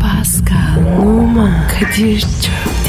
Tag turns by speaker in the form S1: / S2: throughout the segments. S1: Pascal, Oman, Kadir çok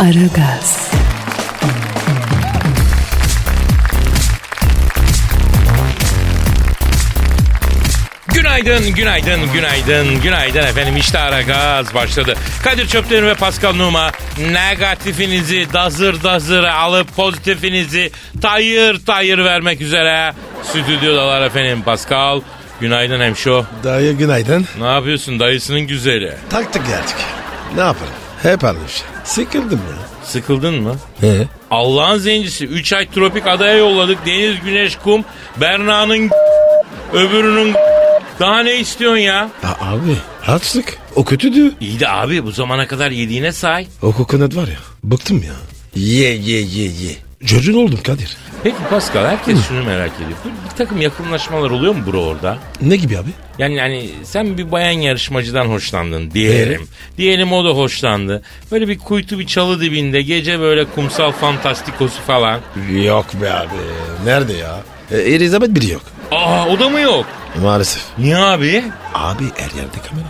S1: Aragaz,
S2: Günaydın, günaydın, günaydın, günaydın efendim. İşte ara gaz başladı. Kadir Çöpleri ve Pascal Numa negatifinizi dazır dazır alıp pozitifinizi tayır tayır vermek üzere stüdyodalar efendim. Pascal, günaydın hemşo.
S3: Dayı günaydın.
S2: Ne yapıyorsun dayısının güzeli?
S3: Taktık geldik. Ne yapalım? Hep aynı şey. Sıkıldım ya.
S2: Sıkıldın mı?
S3: He.
S2: Allah'ın zencisi 3 ay tropik adaya yolladık. Deniz, güneş, kum. Berna'nın öbürünün daha ne istiyorsun ya?
S3: A- abi açlık. O kötüdü.
S2: İyi de abi bu zamana kadar yediğine say.
S3: O kokonat var ya. Bıktım ya. Ye ye ye ye. Çocuğun oldum Kadir.
S2: Peki Pascal herkes şunu merak ediyor. Bu bir takım yakınlaşmalar oluyor mu bro orada?
S3: Ne gibi abi?
S2: Yani yani sen bir bayan yarışmacıdan hoşlandın diyelim. Diyelim o da hoşlandı. Böyle bir kuytu bir çalı dibinde gece böyle kumsal fantastikosu falan.
S3: Yok be abi. Nerede ya? E, Elizabeth biri yok.
S2: Aa o da mı yok?
S3: Maalesef.
S2: Niye abi?
S3: Abi her yerde kamera.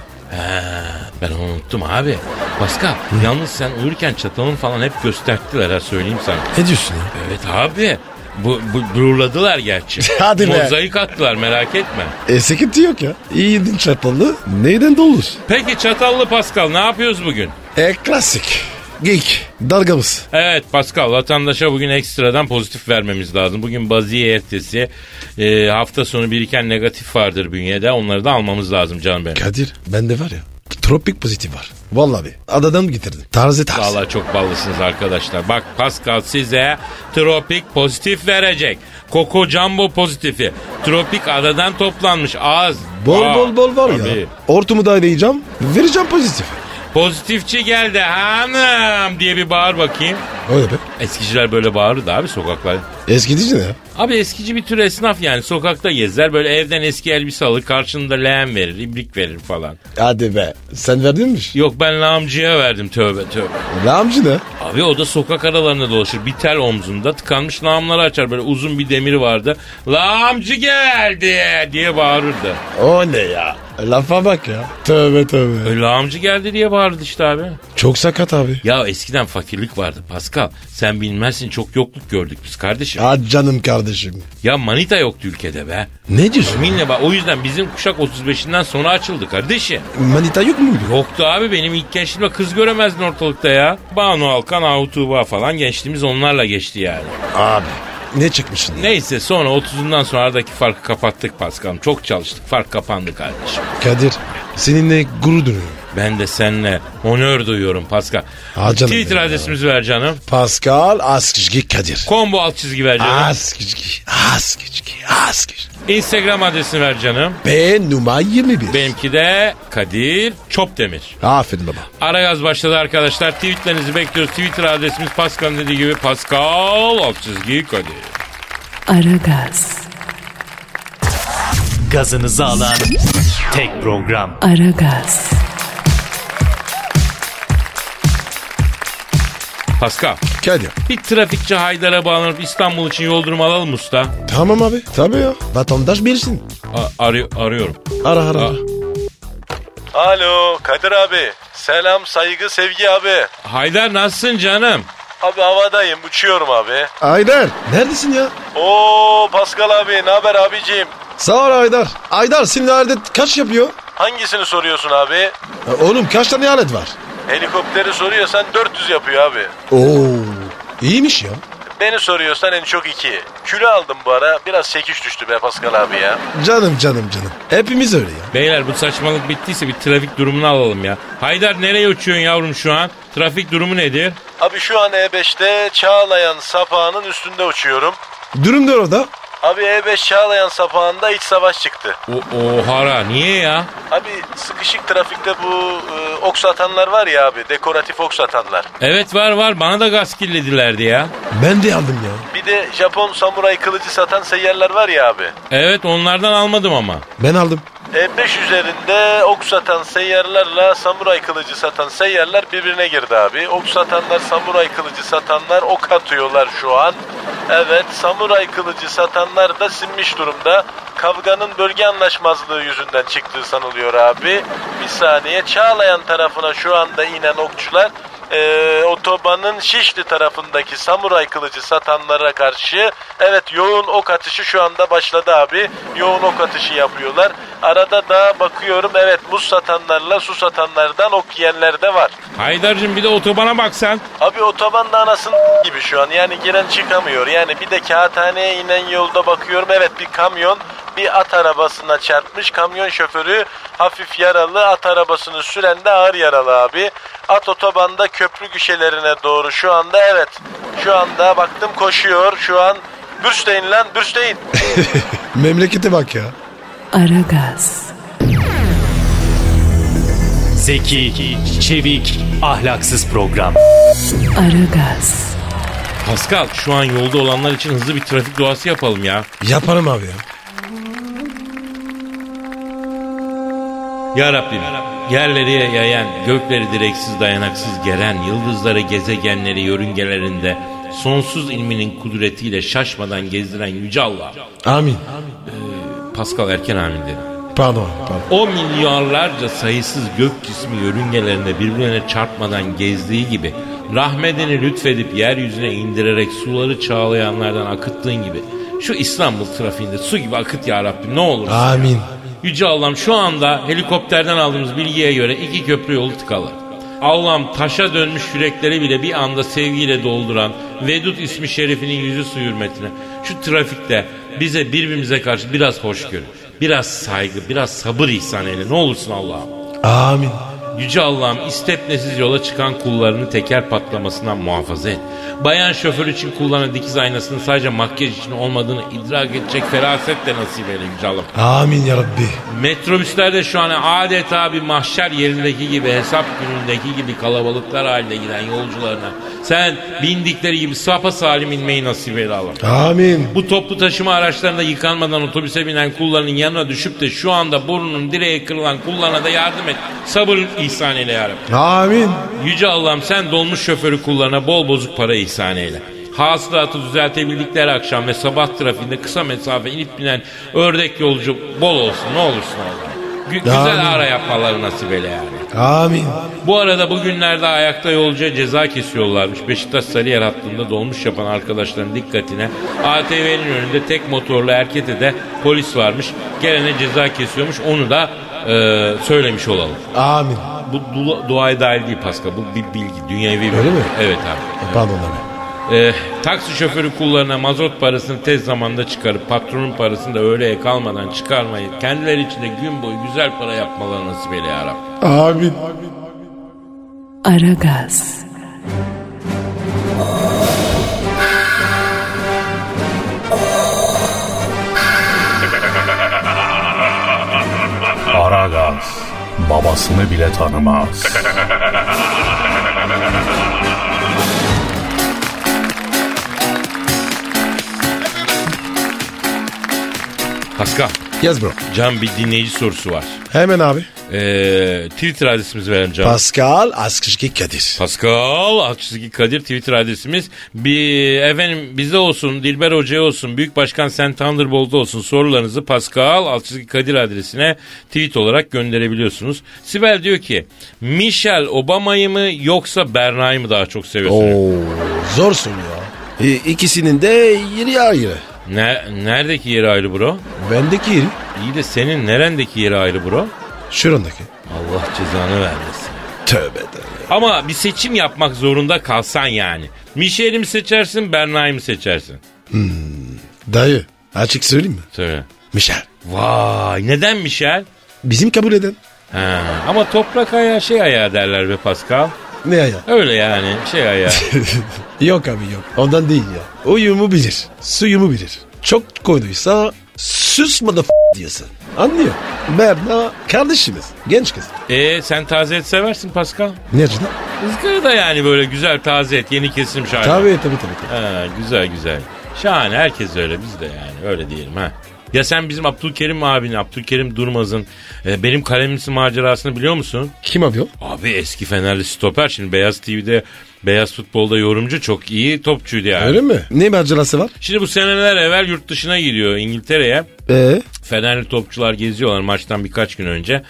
S2: Ben onu unuttum abi. Pascal yalnız sen uyurken çatalın falan hep gösterttiler ha söyleyeyim sana.
S3: Ne diyorsun ya?
S2: Evet abi. Bu, bu blurladılar gerçi.
S3: Hadi be.
S2: Mozaik attılar merak etme.
S3: E sıkıntı yok ya. İyiydin çapalı. Neyden dolur?
S2: Peki çatallı Pascal ne yapıyoruz bugün?
S3: E klasik. Geek. Dalgamız.
S2: Evet Pascal vatandaşa bugün ekstradan pozitif vermemiz lazım. Bugün baziye ertesi e, hafta sonu biriken negatif vardır bünyede. Onları da almamız lazım canım benim.
S3: Kadir bende var ya. Tropik pozitif var. Vallahi abi. Adadan getirdim. Tarzı tarz.
S2: Vallahi çok ballısınız arkadaşlar. Bak Pascal size tropik pozitif verecek. Koko Jumbo pozitifi. Tropik adadan toplanmış az.
S3: Bol
S2: Aa,
S3: bol bol var
S2: tabii.
S3: ya. Ortumu da arayacağım. Vereceğim pozitif.
S2: Pozitifçi geldi hanım diye bir bağır bakayım.
S3: Öyle be.
S2: Eskiciler böyle bağırırdı abi sokaklarda.
S3: Eskidici ne ya?
S2: Abi eskici bir tür esnaf yani sokakta gezer böyle evden eski elbise alır karşında leğen verir ibrik verir falan.
S3: Hadi be. Sen verdin mi?
S2: Yok ben lağımcıya verdim tövbe tövbe.
S3: Lağımcı ne?
S2: Abi o da sokak aralarında dolaşır bir tel omzunda tıkanmış lağımları açar böyle uzun bir demiri vardı. Lağımcı geldi diye bağırırdı.
S3: O ne ya? Lafa bak ya. Tövbe tövbe.
S2: E, lağımcı geldi diye bağırdı işte abi.
S3: Çok sakat abi.
S2: Ya eskiden fakirlik vardı Pascal sen bilmezsin çok yokluk gördük biz kardeşim.
S3: Ya canım kardeşim.
S2: Ya manita yoktu ülkede be.
S3: Ne diyorsun?
S2: Minle bak o yüzden bizim kuşak 35'inden sonra açıldı kardeşim.
S3: Manita yok muydu?
S2: Yoktu abi benim ilk gençliğimde kız göremezdin ortalıkta ya. Banu Alkan, Ahu Tuğba falan gençliğimiz onlarla geçti yani.
S3: Abi. Ne çıkmışsın? ya?
S2: Neyse sonra 30'undan sonra aradaki farkı kapattık Paskal'ım. Çok çalıştık fark kapandı kardeşim.
S3: Kadir. Seninle gurur duyuyorum.
S2: Ben de seninle honör duyuyorum Paskal.
S3: Ha canım
S2: Twitter
S3: benim
S2: adresimizi ver canım.
S3: Pascal Askışki Kadir.
S2: Combo alt çizgi ver canım.
S3: Askışki, Askışki, Askışki.
S2: Instagram adresini ver canım.
S3: B numara 21.
S2: Benimki de Kadir Çopdemir.
S3: Aferin baba.
S2: Ara yaz başladı arkadaşlar. Tweetlerinizi bekliyoruz. Twitter adresimiz Pascal'ın dediği gibi Pascal alt çizgi Kadir.
S1: Aragaz,
S4: gazınızı alan tek program.
S1: Aragaz,
S2: Pascal.
S3: Kadir.
S2: Bir trafikçi Haydar'a bağlanıp İstanbul için yol durumu alalım usta.
S3: Tamam abi. Tabii ya. Vatandaş bilsin.
S2: A- arıyor- arıyorum.
S3: Ara ara.
S2: Aa.
S3: ara.
S5: Alo Kadir abi. Selam saygı sevgi abi.
S2: Haydar nasılsın canım?
S5: Abi havadayım uçuyorum abi.
S3: Aydar. Neredesin ya?
S5: Oo Pascal abi ne haber abicim?
S3: Sağ ol Aydar. Aydar senin alet kaç yapıyor?
S5: Hangisini soruyorsun abi?
S3: E, oğlum kaç tane alet var?
S5: Helikopteri soruyorsan 400 yapıyor abi.
S3: Oo. İyiymiş ya.
S5: Beni soruyorsan en çok 2. Kilo aldım bu ara biraz sekiş düştü be Pascal abi ya.
S3: Canım canım canım. Hepimiz öyle ya.
S2: Beyler bu saçmalık bittiyse bir trafik durumunu alalım ya. Haydar nereye uçuyorsun yavrum şu an? Trafik durumu nedir?
S5: E Abi şu an E5'te Çağlayan sapağının üstünde uçuyorum.
S3: Durum da orada.
S5: Abi E5 Çağlayan sapağında iç savaş çıktı.
S2: O, ohara niye ya?
S5: Abi sıkışık trafikte bu e, oks atanlar var ya abi dekoratif oks atanlar.
S2: Evet var var bana da gaz kirledilerdi ya.
S3: Ben de aldım ya.
S5: Bir de Japon samuray kılıcı satan seyyarlar var ya abi.
S2: Evet onlardan almadım ama.
S3: Ben aldım.
S5: E5 üzerinde ok satan seyyarlarla samuray kılıcı satan seyyarlar birbirine girdi abi. Ok satanlar samuray kılıcı satanlar ok atıyorlar şu an. Evet samuray kılıcı satanlar da sinmiş durumda. Kavganın bölge anlaşmazlığı yüzünden çıktığı sanılıyor abi. Bir saniye Çağlayan tarafına şu anda inen okçular e, otobanın Şişli tarafındaki samuray kılıcı satanlara karşı evet yoğun ok atışı şu anda başladı abi. Yoğun ok atışı yapıyorlar. Arada da bakıyorum evet muz satanlarla su satanlardan ok yiyenler de var.
S2: Haydar'cığım bir de otobana bak sen.
S5: Abi otoban da anasın gibi şu an yani giren çıkamıyor. Yani bir de kağıthaneye inen yolda bakıyorum evet bir kamyon bir at arabasına çarpmış. Kamyon şoförü hafif yaralı at arabasını süren de ağır yaralı abi. At otobanda köprü güşelerine doğru şu anda evet. Şu anda baktım koşuyor şu an Bürsteyin lan Bürsteyin.
S3: Memlekete bak ya.
S1: Aragaz,
S4: Zeki, çevik, ahlaksız program.
S1: Aragaz,
S2: Pascal şu an yolda olanlar için hızlı bir trafik duası yapalım ya.
S3: Yaparım abi ya.
S2: Ya Rabbim yerleri yayan, gökleri direksiz dayanaksız geren, yıldızları gezegenleri yörüngelerinde sonsuz ilminin kudretiyle şaşmadan gezdiren Yüce Allah.
S3: Amin.
S2: Pascal Erken Amin dedi.
S3: Pardon abi pardon.
S2: O milyarlarca sayısız gök cismi yörüngelerinde birbirine çarpmadan gezdiği gibi rahmetini lütfedip yeryüzüne indirerek suları çağlayanlardan akıttığın gibi şu İstanbul trafiğinde su gibi akıt ya Rabbim ne olur.
S3: Amin.
S2: Yüce Allah'ım şu anda helikopterden aldığımız bilgiye göre iki köprü yolu tıkalı. Allah'ım taşa dönmüş yürekleri bile bir anda sevgiyle dolduran Vedud ismi şerifinin yüzü su hürmetine şu trafikte bize birbirimize karşı biraz hoşgörü, biraz saygı, biraz sabır ihsan eyle ne olursun Allah'ım.
S3: Amin.
S2: Yüce Allah'ım istepnesiz yola çıkan kullarını teker patlamasından muhafaza et. Bayan şoför için kullanan dikiz aynasının sadece makyaj için olmadığını idrak edecek ferasetle nasip eyle Yüce Allah'ım.
S3: Amin ya Rabbi.
S2: Metrobüslerde şu an adeta bir mahşer yerindeki gibi hesap günündeki gibi kalabalıklar halinde giden yolcularına sen bindikleri gibi sapa salim inmeyi nasip eyle Allah.
S3: Amin.
S2: Bu toplu taşıma araçlarında yıkanmadan otobüse binen kulların yanına düşüp de şu anda burnunun direğe kırılan kullarına da yardım et. Sabır ihsan eyle ya Rabbi.
S3: Amin.
S2: Yüce Allah'ım sen dolmuş şoförü kullarına bol bozuk para ihsan eyle. Hasılatı düzeltebildikleri akşam ve sabah trafiğinde kısa mesafe inip binen ördek yolcu bol olsun ne olursun Allah'ım. Gü-
S3: Amin.
S2: güzel ara yapmaları nasip eyle yani.
S3: Amin.
S2: Bu arada bugünlerde ayakta yolcuya ceza kesiyorlarmış. Beşiktaş Sarıyer hattında dolmuş yapan arkadaşların dikkatine ATV'nin önünde tek motorlu erkete de polis varmış. Gelene ceza kesiyormuş onu da e, söylemiş olalım.
S3: Amin.
S2: Bu dua- duaya dair değil Pascal. Bu bir bilgi. Dünyevi bir
S3: Öyle mi?
S2: Evet abi.
S3: Pardon abi.
S2: Ee, taksi şoförü kullarına mazot parasını tez zamanda çıkarıp patronun parasını da öğleye kalmadan çıkarmayı kendileri için de gün boyu güzel para yapmaları nasip eyle ya Rabbi.
S3: Amin.
S1: Aragaz,
S6: Aragaz babasını bile tanımaz.
S2: Pascal,
S3: Yaz bro.
S2: Can bir dinleyici sorusu var.
S3: Hemen abi.
S2: Ee, Twitter adresimizi verelim Can.
S3: Pascal Askışki Kadir.
S2: Pascal Akçizgi Kadir Twitter adresimiz. Bir, efendim bize olsun, Dilber Hoca'ya olsun, Büyük Başkan Sen Thunderbolt'a olsun sorularınızı Pascal Akçizgi Kadir adresine tweet olarak gönderebiliyorsunuz. Sibel diyor ki Michelle Obama'yı mı yoksa Berna'yı mı daha çok seviyorsunuz?
S3: Oo, zorsun ya. E, ikisinin de yeri ayrı.
S2: Ne, neredeki yeri ayrı bro?
S3: Bendeki yeri.
S2: İyi de senin nerendeki yeri ayrı bro?
S3: Şurandaki.
S2: Allah cezanı vermesin.
S3: Tövbe de.
S2: Ama bir seçim yapmak zorunda kalsan yani. Michelle'i mi seçersin, Berna'yı mı seçersin?
S3: Dayı açık söyleyeyim mi?
S2: Söyle.
S3: Mişel.
S2: Vay neden Michel?
S3: Bizim kabul eden.
S2: Ha, ama toprak ayağı şey ayağı derler be Pascal.
S3: Ne ya?
S2: Öyle yani şey ayağı.
S3: yok abi yok. Ondan değil ya. Uyumu bilir. Suyumu bilir. Çok koyduysa susma da f- diyorsun. Anlıyor. Berna kardeşimiz. Genç kız.
S2: Ee sen taze et seversin Pascal.
S3: Ne açıdan?
S2: Izgarada yani böyle güzel taze et yeni kesim şahane.
S3: Tabii tabii tabii. tabii.
S2: Ha, güzel güzel. Şahane herkes öyle biz de yani öyle diyelim ha. Ya sen bizim Abdülkerim abinin, Abdülkerim Durmaz'ın e, benim kalemimsin macerasını biliyor musun?
S3: Kim abi o?
S2: Abi eski Fenerli stoper şimdi Beyaz TV'de Beyaz Futbol'da yorumcu çok iyi topçuydu yani.
S3: Öyle mi? Ne macerası var?
S2: Şimdi bu seneler evvel yurt dışına gidiyor İngiltere'ye.
S3: Ee?
S2: Fenerli topçular geziyorlar maçtan birkaç gün önce.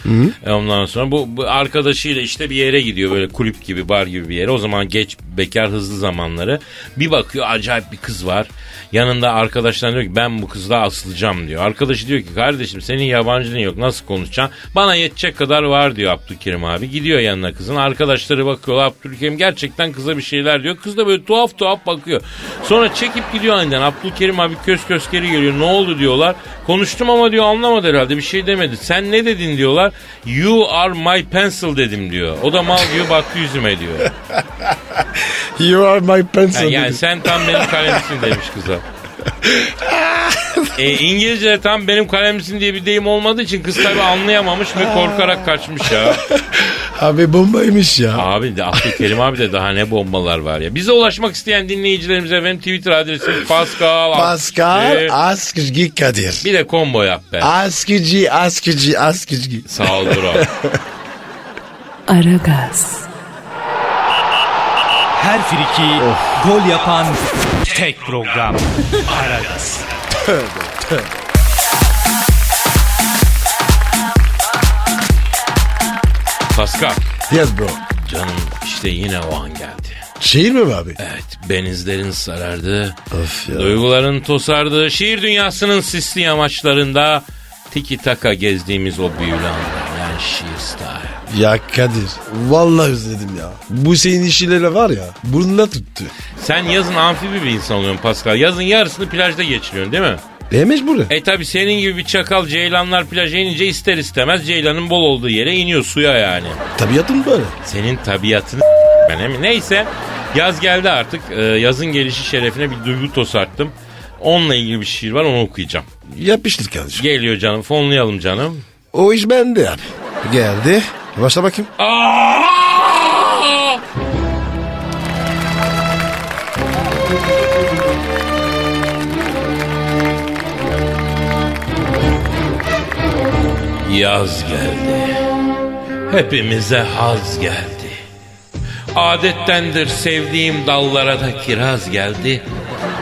S2: E, Ondan sonra bu, bu arkadaşıyla işte bir yere gidiyor böyle kulüp gibi bar gibi bir yere. O zaman geç bekar hızlı zamanları. Bir bakıyor acayip bir kız var. Yanında arkadaşlar diyor ki ben bu kızla asılacağım diyor. Arkadaşı diyor ki kardeşim senin yabancılığın yok nasıl konuşacaksın? Bana yetecek kadar var diyor Abdülkerim abi. Gidiyor yanına kızın. Arkadaşları bakıyorlar Abdülkerim gerçekten kıza bir şeyler diyor. Kız da böyle tuhaf tuhaf bakıyor. Sonra çekip gidiyor aniden. Abdülkerim abi kös kös geri geliyor. Ne oldu diyorlar. Konuştum ama diyor anlamadı herhalde bir şey demedi. Sen ne dedin diyorlar. You are my pencil dedim diyor. O da mal diyor baktı yüzüme diyor.
S3: You are my pencil.
S2: Yani, yani sen tam benim kalemsin demiş kıza. E, İngilizce tam benim kalemsin diye bir deyim olmadığı için kız tabi anlayamamış ve korkarak kaçmış ya.
S3: Abi bombaymış ya.
S2: Abi de Abdülkerim abi de daha ne bombalar var ya. Bize ulaşmak isteyen dinleyicilerimize efendim Twitter adresi Pascal.
S3: Pascal
S2: Askışgi.
S3: Askizgi Kadir.
S2: Bir de combo yap be.
S3: Askizgi Askizgi Askizgi.
S2: Sağ ol bro.
S1: Aragaz,
S4: Her friki gol yapan tek program. Aragaz.
S2: Pascal.
S3: Yes bro.
S2: Canım işte yine o an geldi.
S3: Şehir mi bu abi?
S2: Evet benizlerin sarardı.
S3: Of ya.
S2: Duyguların tosardı. Şiir dünyasının sisli yamaçlarında tiki taka gezdiğimiz o büyülü anlar. Yani şiir style.
S3: Ya Kadir. Vallahi özledim ya. Bu senin işleri var ya. Burnuna tuttu.
S2: Sen yazın amfibi bir insan oluyorsun Pascal. Yazın yarısını plajda geçiriyorsun değil mi?
S3: E mecburi.
S2: E tabi senin gibi bir çakal ceylanlar plaja inince ister istemez ceylanın bol olduğu yere iniyor suya yani.
S3: Tabiatın böyle.
S2: Senin tabiatını ben emin. Neyse yaz geldi artık. Ee, yazın gelişi şerefine bir duygu tosarttım. Onunla ilgili bir şiir var onu okuyacağım.
S3: Yapıştır kardeşim.
S2: Geliyor canım fonlayalım canım.
S3: O iş bende abi. Geldi. Başla bakayım.
S2: Aa! Yaz geldi. Hepimize haz geldi. Adettendir sevdiğim dallara da kiraz geldi.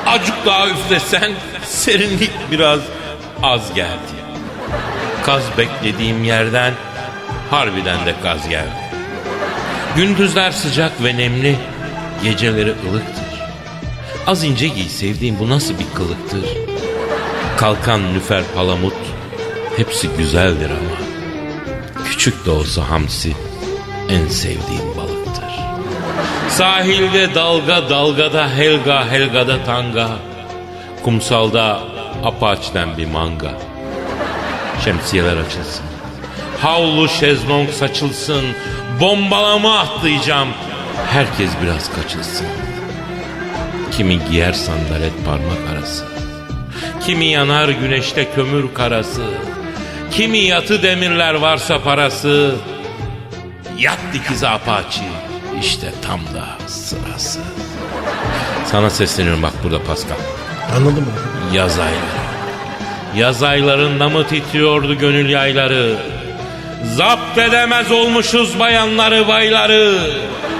S2: Acık daha üflesen serinlik biraz az geldi. Kaz beklediğim yerden harbiden de kaz geldi. Gündüzler sıcak ve nemli, geceleri ılıktır. Az ince giy sevdiğim bu nasıl bir kılıktır? Kalkan nüfer palamut, hepsi güzeldir ama. Küçük de olsa hamsi, en sevdiğim balıktır. Sahilde dalga dalgada helga helgada tanga. Kumsalda apaçten bir manga. Şemsiyeler açılsın. Havlu şezlong saçılsın. Bombalama atlayacağım. Herkes biraz kaçılsın. Kimi giyer sandalet parmak arası. Kimi yanar güneşte kömür karası. Kimi yatı demirler varsa parası. Yat dikize apaçi. İşte tam da sırası. Sana sesleniyorum bak burada Pascal.
S3: Anladın mı?
S2: Yaz ayları. Yaz aylarında mı titriyordu gönül yayları? Zapt edemez olmuşuz bayanları bayları.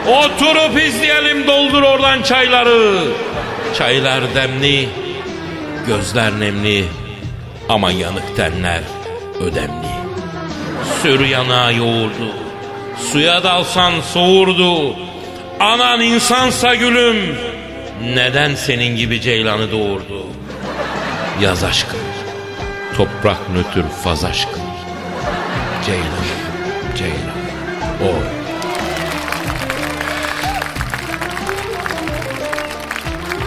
S2: Oturup izleyelim doldur oradan çayları. Çaylar demli, gözler nemli. Ama yanık tenler ödemli. Sür yanağı yoğurdu. Suya dalsan soğurdu. Anan insansa gülüm. Neden senin gibi ceylanı doğurdu? Yaz aşkın. Toprak nötr faz aşkın. Ceylan. Ceylan. O.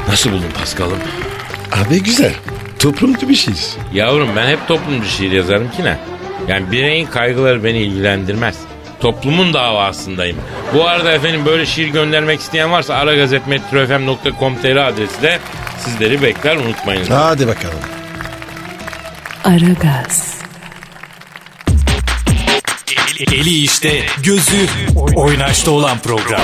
S2: Nasıl buldun Paskal'ım?
S3: Abi güzel. Toplumcu bir şeyiz.
S2: Yavrum ben hep toplumcu şiir yazarım ki ne? Yani bireyin kaygıları beni ilgilendirmez. Toplumun davasındayım. Bu arada efendim böyle şiir göndermek isteyen varsa aragazetmetrofm.com.tr adresi de sizleri bekler unutmayın.
S3: Hadi bakalım.
S1: Aragaz,
S4: Eli işte, gözü oynaşta olan program.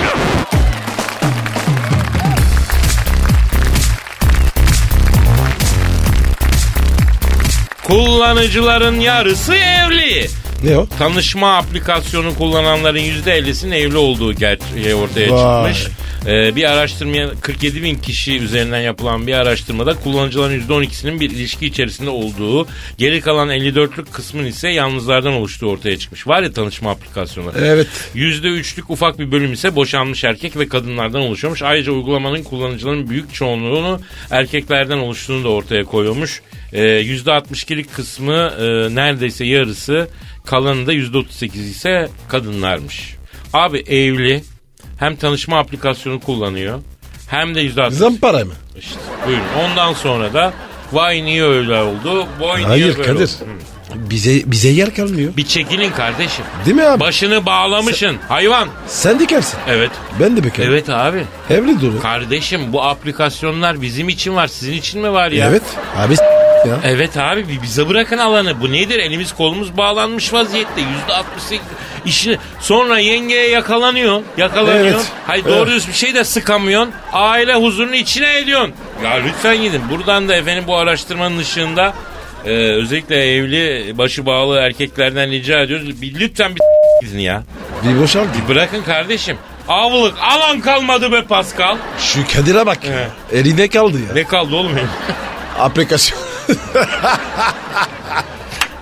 S2: Kullanıcıların yarısı evli.
S3: Ne o?
S2: Tanışma aplikasyonu kullananların %50'sinin evli olduğu gerçeği ortaya
S3: Vay.
S2: çıkmış. Ee, bir araştırmaya 47 bin kişi üzerinden yapılan bir araştırmada kullanıcıların %12'sinin bir ilişki içerisinde olduğu, geri kalan 54'lük kısmın ise yalnızlardan oluştuğu ortaya çıkmış. Var ya tanışma aplikasyonu.
S3: Evet.
S2: %3'lük ufak bir bölüm ise boşanmış erkek ve kadınlardan oluşuyormuş. Ayrıca uygulamanın kullanıcıların büyük çoğunluğunu erkeklerden oluştuğunu da ortaya koyuyormuş. Ee, %62'lik kısmı e, neredeyse yarısı kalanı da %38 ise kadınlarmış. Abi evli hem tanışma aplikasyonu kullanıyor hem de %60
S3: Zampara mı?
S2: İşte, buyurun. Ondan sonra da vay niye öyle oldu? Vay niye
S3: Hayır
S2: böyle
S3: Kadir.
S2: oldu?
S3: Bize bize yer kalmıyor.
S2: Bir çekilin kardeşim.
S3: Değil mi abi?
S2: Başını bağlamışın hayvan.
S3: Sen dikersin.
S2: Evet.
S3: Ben de bekarım.
S2: Evet abi.
S3: Evli dolu.
S2: Kardeşim bu aplikasyonlar bizim için var sizin için mi var ya?
S3: Evet. Abi s- ya.
S2: Evet abi bir bize bırakın alanı. Bu nedir? Elimiz kolumuz bağlanmış vaziyette. Yüzde altmış işini. Sonra yengeye yakalanıyorsun. Yakalanıyorsun.
S3: Evet.
S2: Hayır
S3: Evet.
S2: doğru düz bir şey de sıkamıyorsun. Aile huzurunu içine ediyorsun. Ya lütfen gidin. Buradan da efendim bu araştırmanın ışığında e, özellikle evli başı bağlı erkeklerden rica ediyoruz. Bir, lütfen bir gidin ya.
S3: Bir boşal gibi.
S2: Bir bırakın kardeşim. Avlık alan kalmadı be Pascal.
S3: Şu Kadir'e bak ya. Eline kaldı ya.
S2: Ne kaldı oğlum elim?
S3: Aplikasyon.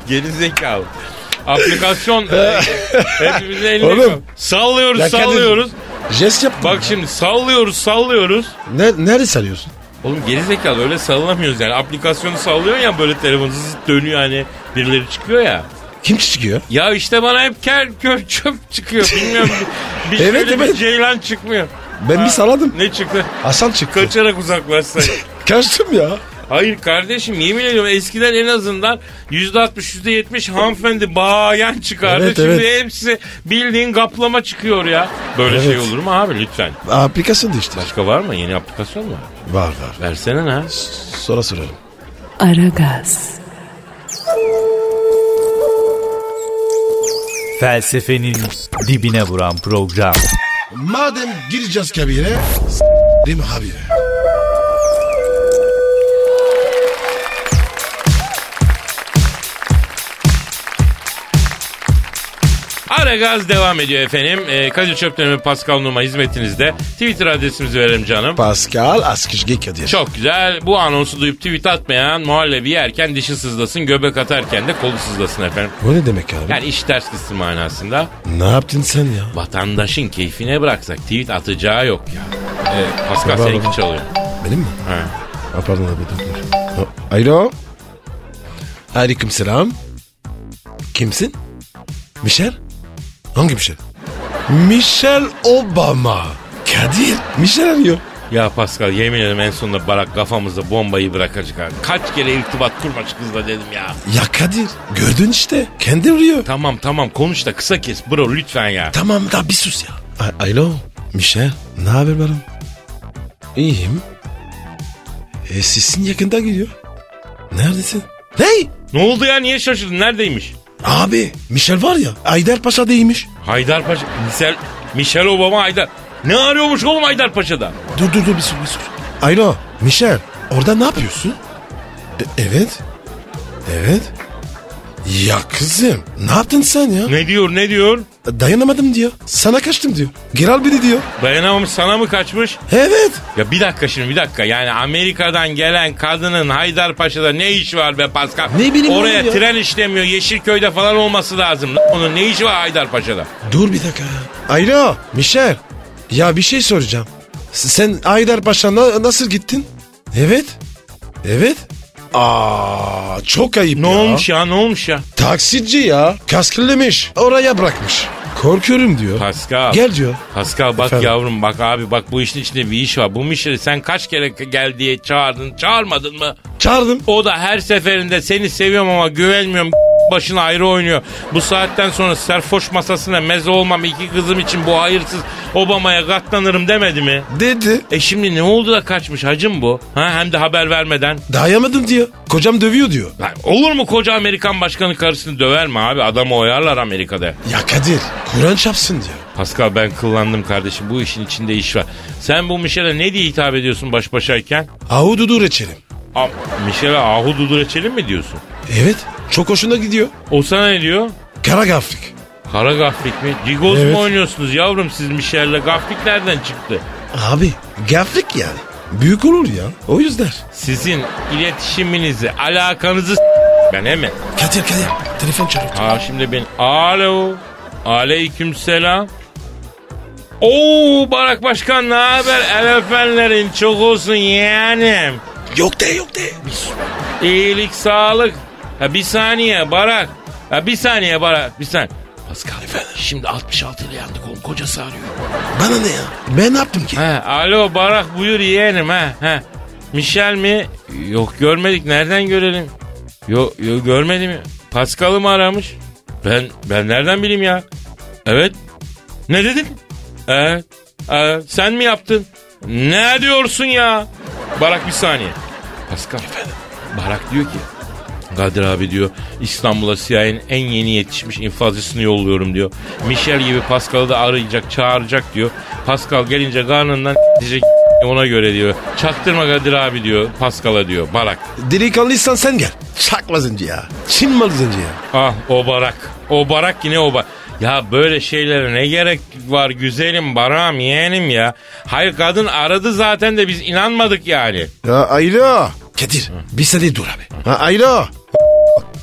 S2: Geri zekalı. Aplikasyon e, hepimizin eline
S3: Oğlum.
S2: kal- Sallıyoruz
S3: Ya Kadir,
S2: sallıyoruz.
S3: Jest yaptın.
S2: Bak şimdi sallıyoruz sallıyoruz.
S3: Ne, nerede sarıyorsun?
S2: Oğlum geri zekalı öyle sallamıyoruz yani. Aplikasyonu sallıyor ya böyle telefon zıt dönüyor hani birileri çıkıyor ya.
S3: Kim çıkıyor?
S2: Ya işte bana hep kel kör çöp çıkıyor bilmiyorum. Bir, bir
S3: Evet,
S2: şöyle bir
S3: evet.
S2: ceylan çıkmıyor.
S3: Ben bir saladım.
S2: Ne çıktı?
S3: Hasan çıktı.
S2: Kaçarak uzaklaşsaydı.
S3: Kaçtım ya.
S2: Hayır kardeşim yemin ediyorum eskiden en azından %60 %70 hanımefendi bayan çıkardı.
S3: Evet,
S2: Şimdi
S3: evet.
S2: hepsi bildiğin kaplama çıkıyor ya. Böyle
S3: Evet.
S2: şey olur mu abi lütfen?
S3: Aplikasyon da işte.
S2: Başka var mı? Yeni aplikasyon mu?
S3: Var var.
S2: Versene ha.
S3: Sonra sorarım.
S1: Aragaz,
S4: Felsefenin dibine vuran program.
S3: Madem gireceğiz kabire. Değil mi abi?
S2: Ara gaz devam ediyor efendim. Ee, Kadir Çöpten ve Pascal Numa hizmetinizde. Twitter adresimizi verelim canım.
S3: Pascal Askışge Kadir.
S2: Çok güzel. Bu anonsu duyup tweet atmayan muhallebi yerken dişi sızlasın, göbek atarken de kolu sızlasın efendim.
S3: Bu ne demek abi?
S2: Yani iş ters gitsin manasında.
S3: Ne yaptın sen ya?
S2: Vatandaşın keyfine bıraksak tweet atacağı yok ya. Ee, Pascal
S3: Bravo.
S2: seninki çalıyor.
S3: Benim mi?
S2: He.
S3: Ha, pardon abi dur dur. Ha, Alo. Aleyküm selam. Kimsin? Michel? Hangi Michel? Michel Obama. Kadir. Michel arıyor.
S2: Ya Pascal yemin ederim en sonunda Barak kafamızda bombayı bırakacak abi. Kaç kere irtibat kurma şu kızla dedim ya.
S3: Ya Kadir gördün işte. Kendi arıyor.
S2: Tamam tamam konuş da kısa kes bro lütfen ya.
S3: Tamam da bir sus ya. A- Alo. Michel. Ne haber bakalım? İyiyim. E, sesin yakında geliyor. Neredesin? Hey!
S2: Ne oldu ya niye şaşırdın neredeymiş?
S3: Abi Michel var ya Aydarpaşa değilmiş.
S2: Haydarpaşa, Michel, Michel Obama Haydar. Ne arıyormuş oğlum Haydarpaşa'da?
S3: Dur dur dur bir sor bir sor. Alo Michel orada ne yapıyorsun? E- evet. Evet. Ya kızım ne yaptın sen ya?
S2: Ne diyor ne diyor?
S3: Dayanamadım diyor. Sana kaçtım diyor. Geri al beni diyor.
S2: Dayanamamış sana mı kaçmış?
S3: Evet.
S2: Ya bir dakika şimdi bir dakika yani Amerika'dan gelen kadının Haydarpaşa'da ne işi var be Pascal?
S3: Ne bileyim
S2: Oraya
S3: oğlum ya.
S2: tren işlemiyor Yeşilköy'de falan olması lazım. Lan Onun ne işi var Haydarpaşa'da?
S3: Dur bir dakika. Alo Michel. Ya bir şey soracağım. S- Sen Aydarpaşa na- nasıl gittin? Evet. Evet. Aa çok ayıp
S2: Ne
S3: ya.
S2: olmuş ya ne olmuş ya?
S3: Taksitçi ya. Kaskillemiş. Oraya bırakmış. Korkuyorum diyor.
S2: Pascal.
S3: Gel diyor.
S2: Pascal bak
S3: Efendim?
S2: yavrum bak abi bak bu işin içinde bir iş var. Bu Michel'i sen kaç kere gel diye çağırdın çağırmadın mı?
S3: Çağırdım.
S2: O da her seferinde seni seviyorum ama güvenmiyorum başına ayrı oynuyor. Bu saatten sonra serfoş masasına meze olmam iki kızım için bu hayırsız Obama'ya katlanırım demedi mi?
S3: Dedi.
S2: E şimdi ne oldu da kaçmış hacım bu? Ha, hem de haber vermeden.
S3: Dayamadım diyor. Kocam dövüyor diyor.
S2: Lan olur mu koca Amerikan başkanı karısını döver mi abi? Adamı oyarlar Amerika'da.
S3: Ya Kadir Kur'an çapsın diyor.
S2: Pascal ben kıllandım kardeşim. Bu işin içinde iş var. Sen bu Michel'e ne diye hitap ediyorsun baş başayken?
S3: Ahududu reçelim.
S2: A- Michel'e ahu dudu reçelim mi diyorsun?
S3: Evet çok hoşuna gidiyor.
S2: O sana ne diyor?
S3: Kara gafrik.
S2: Kara gaflik mi? Cigoz
S3: Evet.
S2: mu oynuyorsunuz yavrum siz Michel'le? Gaflik nereden çıktı?
S3: Abi gafrik yani. Büyük olur ya. O yüzden.
S2: Sizin iletişiminizi, alakanızı s- ben he mi?
S3: Kadir Kadir telefon çalıyor.
S2: Ha şimdi ben alo. Aleyküm selam. Oo Barak Başkan ne haber? El efendilerin çok olsun yeğenim.
S3: Yok de yok de.
S2: İyilik, sağlık. Ha bir saniye Barak. Ha bir saniye Barak. Bir saniye. Pascal efendim. Şimdi 66 ile yandık oğlum. Kocası arıyor.
S3: Bana ne ya? Ben ne yaptım ki?
S2: Ha, alo Barak buyur yeğenim. Ha, ha. Michel mi? Yok görmedik. Nereden görelim? Yok yo, görmedim. Pascal'ı mı aramış? Ben ben nereden bileyim ya? Evet. Ne dedin? Evet. Ee, sen mi yaptın? Ne diyorsun ya? Barak bir saniye. Pascal. Barak diyor ki Kadir abi diyor İstanbul'a CIA'nin en yeni yetişmiş infazcısını yolluyorum diyor. Michel gibi Pascal'ı da arayacak çağıracak diyor. Pascal gelince karnından diyecek ona göre diyor. Çaktırma Kadir abi diyor Pascal'a diyor Barak.
S3: Delikanlıysan sen gel. Çakma zenci ya. Çin malı zenci ya.
S2: Ah o Barak. O Barak yine o Barak. Ya böyle şeylere ne gerek var güzelim Barak'ım yeğenim ya. Hayır kadın aradı zaten de biz inanmadık yani.
S3: Ya Aylo. Kadir bir saniye dur abi. Ha Aylo.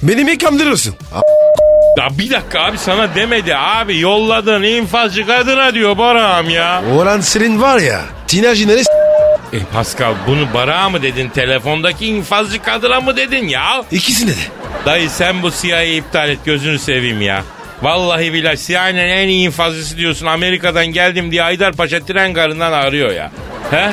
S3: Beni mi kandırırsın?
S2: Ya bir dakika abi sana demedi abi yolladın infazcı kadına diyor Barak'ım ya.
S3: Oran senin var ya. Tinajinleri
S2: E Pascal bunu Barak'a mı dedin telefondaki infazcı kadına mı dedin ya?
S3: ikisine de.
S2: Dayı sen bu CIA'yı iptal et gözünü seveyim ya. Vallahi billahi CIA'nın en iyi infazcısı diyorsun Amerika'dan geldim diye Haydarpaşa tren garından arıyor ya. He?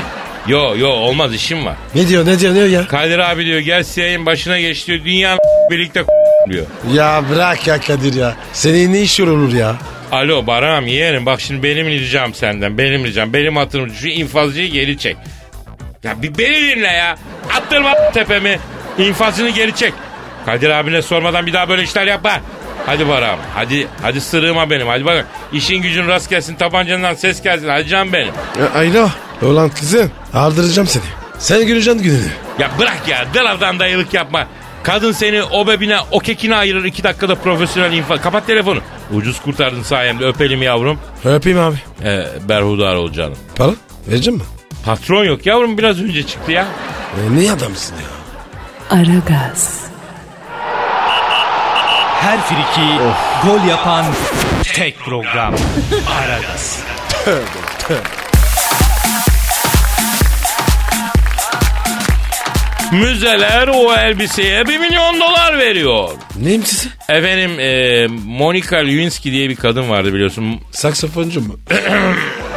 S2: Yo yo olmaz işim var.
S3: Ne diyor ne diyor ne diyor ya?
S2: Kadir abi diyor gel CIA'nın başına geç diyor dünyanın birlikte diyor.
S3: Ya bırak ya Kadir ya. Senin ne işin olur ya?
S2: Alo Barak'ım yeğenim bak şimdi benim ricam senden benim ricam benim hatırım şu infazcıyı geri çek. Ya bir beni dinle ya attırma tepemi infazını geri çek. Kadir abine sormadan bir daha böyle işler yapma. Hadi Barak'ım hadi hadi sırığıma benim hadi bak işin gücün rast gelsin tabancandan ses gelsin hadi canım benim.
S3: Ya Aylo. Ulan kızım. Ardıracağım seni. Sen göreceksin gününü.
S2: Ya bırak ya dırardan dayılık yapma. Kadın seni o bebine o kekine ayırır iki dakikada profesyonel infaz. Kapat telefonu. Ucuz kurtardın sayemde öpelim yavrum.
S3: E, Öpeyim abi.
S2: Ee, berhudar ol canım.
S3: Para? Vereceğim mi?
S2: Patron yok yavrum biraz önce çıktı ya.
S3: E, ne adamsın ya?
S1: Aragaz,
S4: Her friki gol yapan tek program. Aragaz.
S2: Müzeler o elbiseye 1 milyon dolar veriyor.
S3: Neyim sizi?
S2: Efendim e, Monica Lewinsky diye bir kadın vardı biliyorsun.
S3: Saksafoncu mu?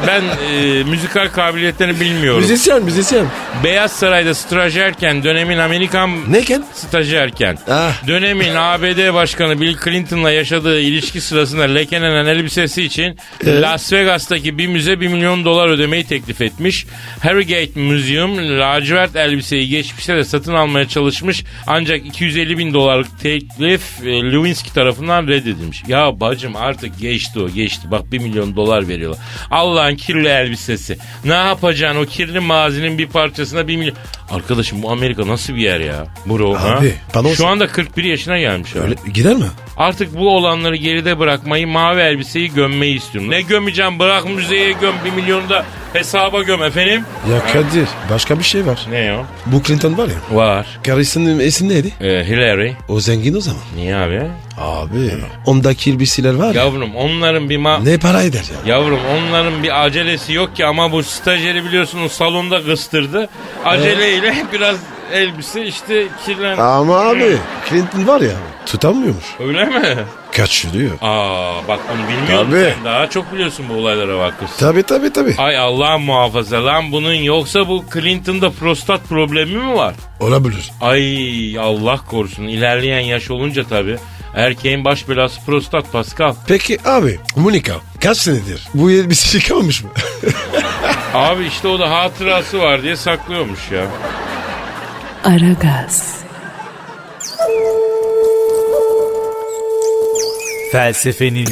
S2: Ben e, müzikal kabiliyetlerini bilmiyorum.
S3: müzisyen müzisyen.
S2: Beyaz Saray'da stajyerken dönemin Amerikan
S3: Neyken?
S2: stajyerken
S3: Ah.
S2: dönemin ABD Başkanı Bill Clinton'la yaşadığı ilişki sırasında lekelenen elbisesi için Las Vegas'taki bir müze 1 milyon dolar ödemeyi teklif etmiş. Harrogate Museum lacivert elbiseyi geçmişte de satın almaya çalışmış ancak 250 bin dolarlık teklif e, Lewinsky tarafından reddedilmiş. Ya bacım artık geçti o geçti bak 1 milyon dolar veriyorlar. Allah'ın kirli elbisesi. Ne yapacaksın o kirli mazinin bir parçasına 1 milyon. Arkadaşım bu Amerika nasıl bir yer ya? Bro
S3: Abi,
S2: ha?
S3: bana
S2: Şu
S3: olsa-
S2: anda 41 yaşına gelmiş. abi.
S3: Öyle gider mi?
S2: Artık bu olanları geride bırakmayı, mavi elbiseyi gömmeyi istiyorum. Ne gömeceğim? Bırak müzeye göm, bir milyonu da hesaba göm efendim.
S3: Ya Kadir başka bir şey var.
S2: Ne o?
S3: Bu Clinton var ya.
S2: Var.
S3: Karısının esin neydi?
S2: Ee, Hillary.
S3: O zengin o zaman.
S2: Niye abi?
S3: Abi. Onda kirbisiler var ya.
S2: Yavrum onların bir ma...
S3: Ne para eder ya?
S2: Yavrum onların bir acelesi yok ki ama bu stajyeri biliyorsunuz salonda kıstırdı. Aceleyle biraz elbise işte kirlen...
S3: Ama abi Clinton var ya tutamıyormuş.
S2: Öyle mi?
S3: Kaçırıyor.
S2: Aa bak bunu bilmiyordum
S3: Tabii.
S2: sen daha çok biliyorsun bu olaylara vakıfsın.
S3: Tabi tabi tabi.
S2: Ay Allah muhafaza lan bunun yoksa bu Clinton'da prostat problemi mi var?
S3: Olabilir.
S2: Ay Allah korusun ilerleyen yaş olunca tabii. Erkeğin baş belası prostat Pascal.
S3: Peki abi Monika kaç senedir bu elbise yıkamamış mı?
S2: Abi işte o da hatırası var diye saklıyormuş ya.
S1: Aragaz,
S4: Felsefenin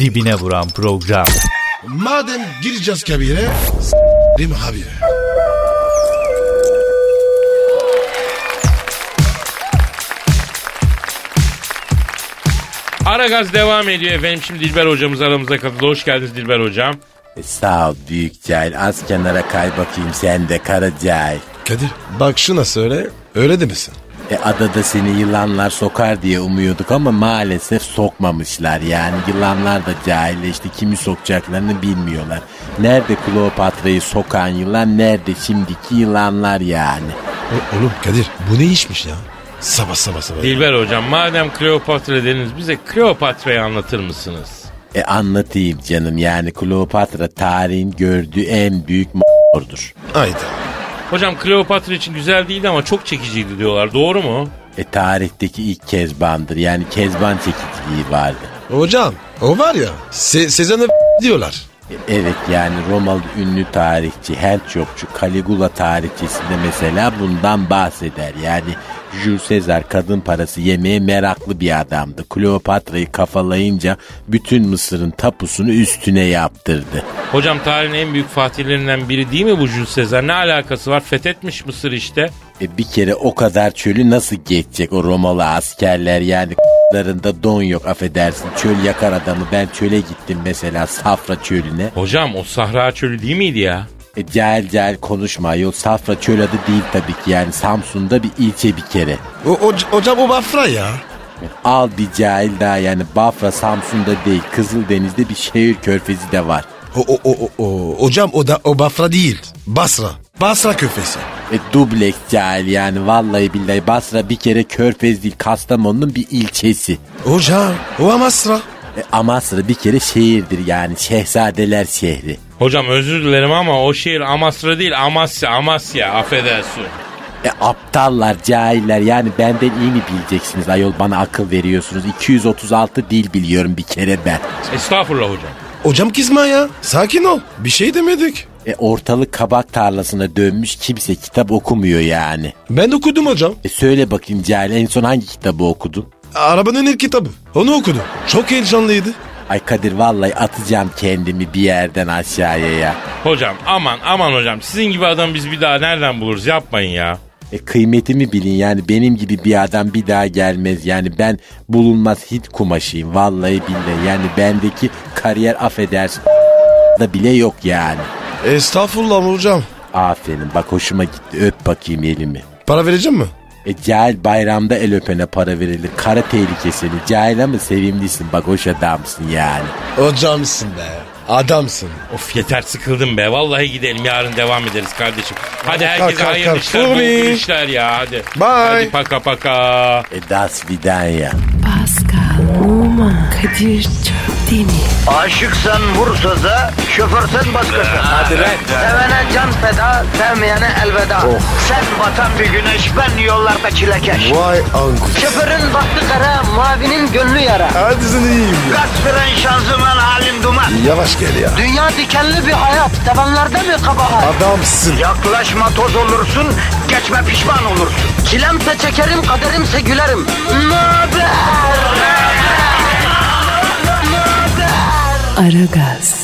S4: dibine vuran program.
S3: Madem gireceğiz kabire değil mi abi?
S2: Aragaz devam ediyor efendim. Şimdi Dilber hocamız aramıza katıldı. Hoş geldiniz Dilber hocam.
S7: E, Sağ ol büyük cahil. Az kenara kay bakayım sen de kara cahil.
S3: Kadir bak şuna söyle öyle demesin.
S7: E, adada seni yılanlar sokar diye umuyorduk ama maalesef sokmamışlar. Yani yılanlar da cahilleşti. Kimi sokacaklarını bilmiyorlar. Nerede Kleopatra'yı sokan yılan, nerede şimdiki yılanlar yani.
S3: O- oğlum Kadir bu ne işmiş ya? Sabah sabah sabah.
S2: Dilber hocam madem Kleopatra dediniz bize Kleopatra'yı anlatır mısınız?
S7: E anlatayım canım yani Kleopatra tarihin gördüğü en büyük m*****
S3: Hayda.
S2: Hocam Kleopatra için güzel değildi ama çok çekiciydi diyorlar. Doğru mu?
S7: E tarihteki ilk kezbandır. Yani kezban çekiciliği vardı.
S3: Hocam o var ya Se Sezen'e diyorlar.
S7: Evet yani Romalı ünlü tarihçi Herçokçu Caligula tarihçesinde mesela bundan bahseder. Yani Jules Caesar kadın parası yemeye meraklı bir adamdı. Kleopatra'yı kafalayınca bütün Mısır'ın tapusunu üstüne yaptırdı.
S2: Hocam tarihin en büyük fatihlerinden biri değil mi bu Jules Caesar? Ne alakası var? Fethetmiş Mısır işte.
S7: E bir kere o kadar çölü nasıl geçecek o Romalı askerler yani larında don yok affedersin. Çöl yakar adamı ben çöle gittim mesela Safra çölüne.
S2: Hocam o Sahra Çölü değil miydi ya?
S7: E, cahil cahil konuşma yol Safra çöl adı değil tabii ki yani Samsun'da bir ilçe bir kere.
S3: O, o, hocam o Bafra ya.
S7: Al bir cahil daha yani Bafra Samsun'da değil Kızıldeniz'de bir şehir körfezi de var.
S3: O, o, o, o, o. Hocam o da o Bafra değil. Basra. Basra köfesi.
S7: E, dubleks cahil yani vallahi billahi Basra bir kere körfez değil Kastamonu'nun bir ilçesi.
S3: Hocam o Amasra.
S7: E, Amasra bir kere şehirdir yani şehzadeler şehri.
S2: Hocam özür dilerim ama o şehir Amasra değil Amasya Amasya affedersin.
S7: E, aptallar cahiller yani benden iyi mi bileceksiniz ayol bana akıl veriyorsunuz 236 dil biliyorum bir kere ben.
S2: Estağfurullah hocam.
S3: Hocam kızma ya. Sakin ol. Bir şey demedik.
S7: E, ortalık kabak tarlasına dönmüş kimse kitap okumuyor yani.
S3: Ben okudum hocam.
S7: E, söyle bakayım cahil en son hangi kitabı okudun?
S3: Arabanın ilk kitabı. Onu okudum. Çok heyecanlıydı.
S7: Ay Kadir vallahi atacağım kendimi bir yerden aşağıya ya.
S2: Hocam aman aman hocam sizin gibi adam biz bir daha nereden buluruz yapmayın ya.
S7: E kıymetimi bilin yani benim gibi bir adam bir daha gelmez. Yani ben bulunmaz hit kumaşıyım vallahi billahi. Yani bendeki kariyer affedersin da bile yok yani.
S3: Estağfurullah hocam.
S7: Aferin bak hoşuma gitti öp bakayım elimi.
S3: Para vereceğim mi?
S7: E cahil bayramda el öpene para verilir. Kara tehlikesini cahil ama sevimlisin bak hoş adamsın yani.
S3: Hocamsın be. Adamsın.
S2: Of yeter sıkıldım be vallahi gidelim yarın devam ederiz kardeşim. Hadi herkese
S3: kalk,
S2: hayırlı
S3: kalk.
S2: işler bol
S3: Furi.
S2: işler ya hadi.
S3: Bye.
S2: Hadi paka paka.
S7: E das vidanya.
S1: Pascal, Oman, Kadir çok değil mi?
S8: Aşıksan vursa da, şoförsen başkasın. Hadi Sevene can feda, sevmeyene elveda. Sen batan bir güneş, ben yollarda çilekeş.
S3: Vay anku.
S8: Şoförün baktı kara, mavinin gönlü yara.
S3: Hadi sen iyiyim ya.
S8: Kasperen şanzıman halin duman.
S3: Yavaş gel ya.
S8: Dünya dikenli bir hayat, sevenlerde mi kabahar?
S3: Adamsın.
S8: Yaklaşma toz olursun, geçme pişman olursun. Çilemse çekerim, kaderimse gülerim. Möber!
S1: Aragaz.